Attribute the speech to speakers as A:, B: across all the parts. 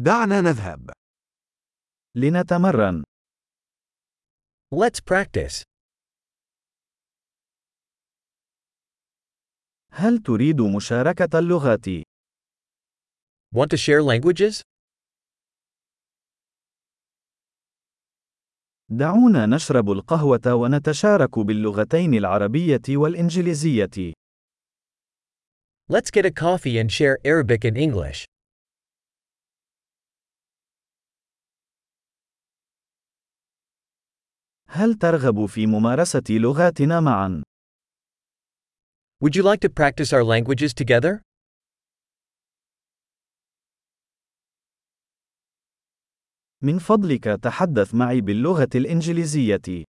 A: دعنا نذهب.
B: لنتمرن.
C: Let's practice.
B: هل تريد مشاركة اللغات؟
C: Want to share languages?
B: دعونا نشرب القهوة ونتشارك باللغتين العربية والإنجليزية.
C: Let's get a coffee and share Arabic and English.
B: هل ترغب في ممارسة لغاتنا معا؟
C: Would you like to practice our languages together?
B: من فضلك تحدث معي باللغة الإنجليزية.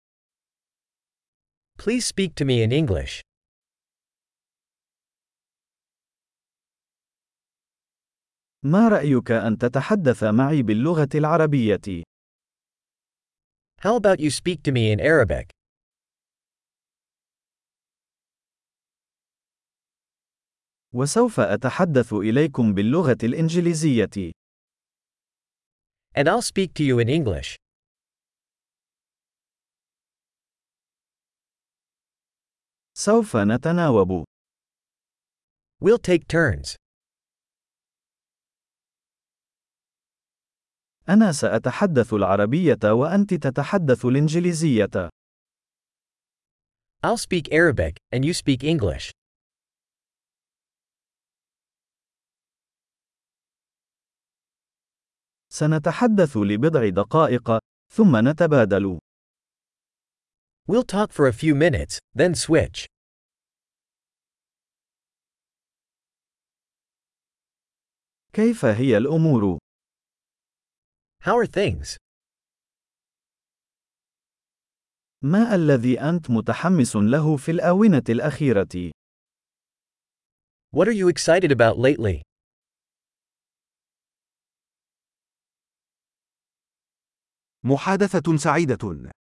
C: Please speak to me in English.
B: ما رأيك أن تتحدث معي باللغة العربية؟
C: How about you speak to me in Arabic?
B: وسوف أتحدث إليكم باللغة الإنجليزية.
C: And I'll speak to you in English.
B: سوف نتناوب.
C: We'll take turns.
B: أنا سأتحدث العربية وأنت تتحدث الإنجليزية.
C: I'll speak Arabic, and you speak English.
B: سنتحدث لبضع دقائق، ثم نتبادل.
C: We'll talk for a few minutes, then switch.
B: كيف هي الأمور؟
C: How are things?
B: ما الذي أنت متحمس له في الآونة الأخيرة؟
C: What are you excited about lately?
A: محادثة سعيدة.